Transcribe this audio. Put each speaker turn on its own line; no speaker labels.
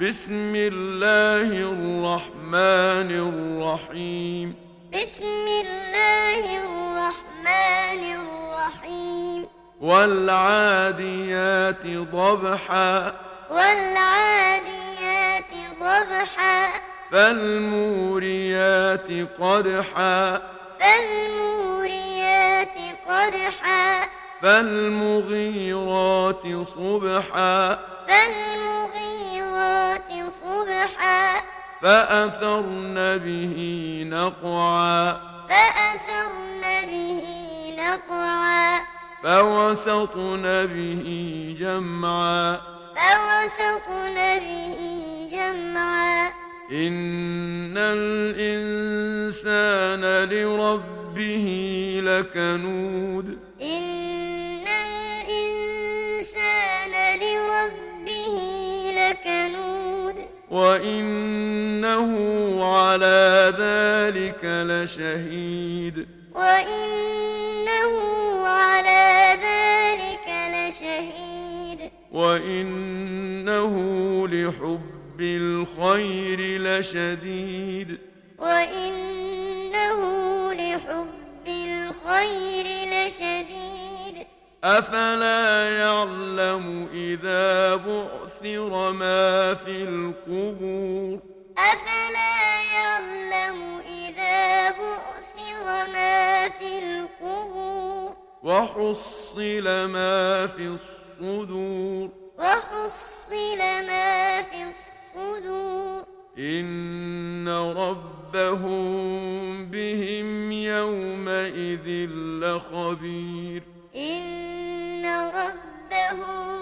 بسم الله الرحمن الرحيم
بسم الله الرحمن الرحيم
والعاديات ضبحا
والعاديات ضبحا
فالموريات قدحا
فالموريات قدحا
فالمغيرات صبحا
فالمغيرات صبحا
فأثرن به نقعا
فأثرن به نقعا
فوسطن به جمعا
فوسطن به جمعا
إن الإنسان لربه لكنود
إن الإنسان لربه لكنود
وإنه على ذلك لشهيد
وإنه على ذلك لشهيد
وإنه لحب الخير لشديد
وإنه لحب الخير لشديد
أفلا يعلم إذا بعثر ما في القبور
أفلا يعلم إذا بعثر ما في القبور
وحصل ما في الصدور
وحصل ما في الصدور
إن ربهم بهم يومئذ لخبير
إن ربهم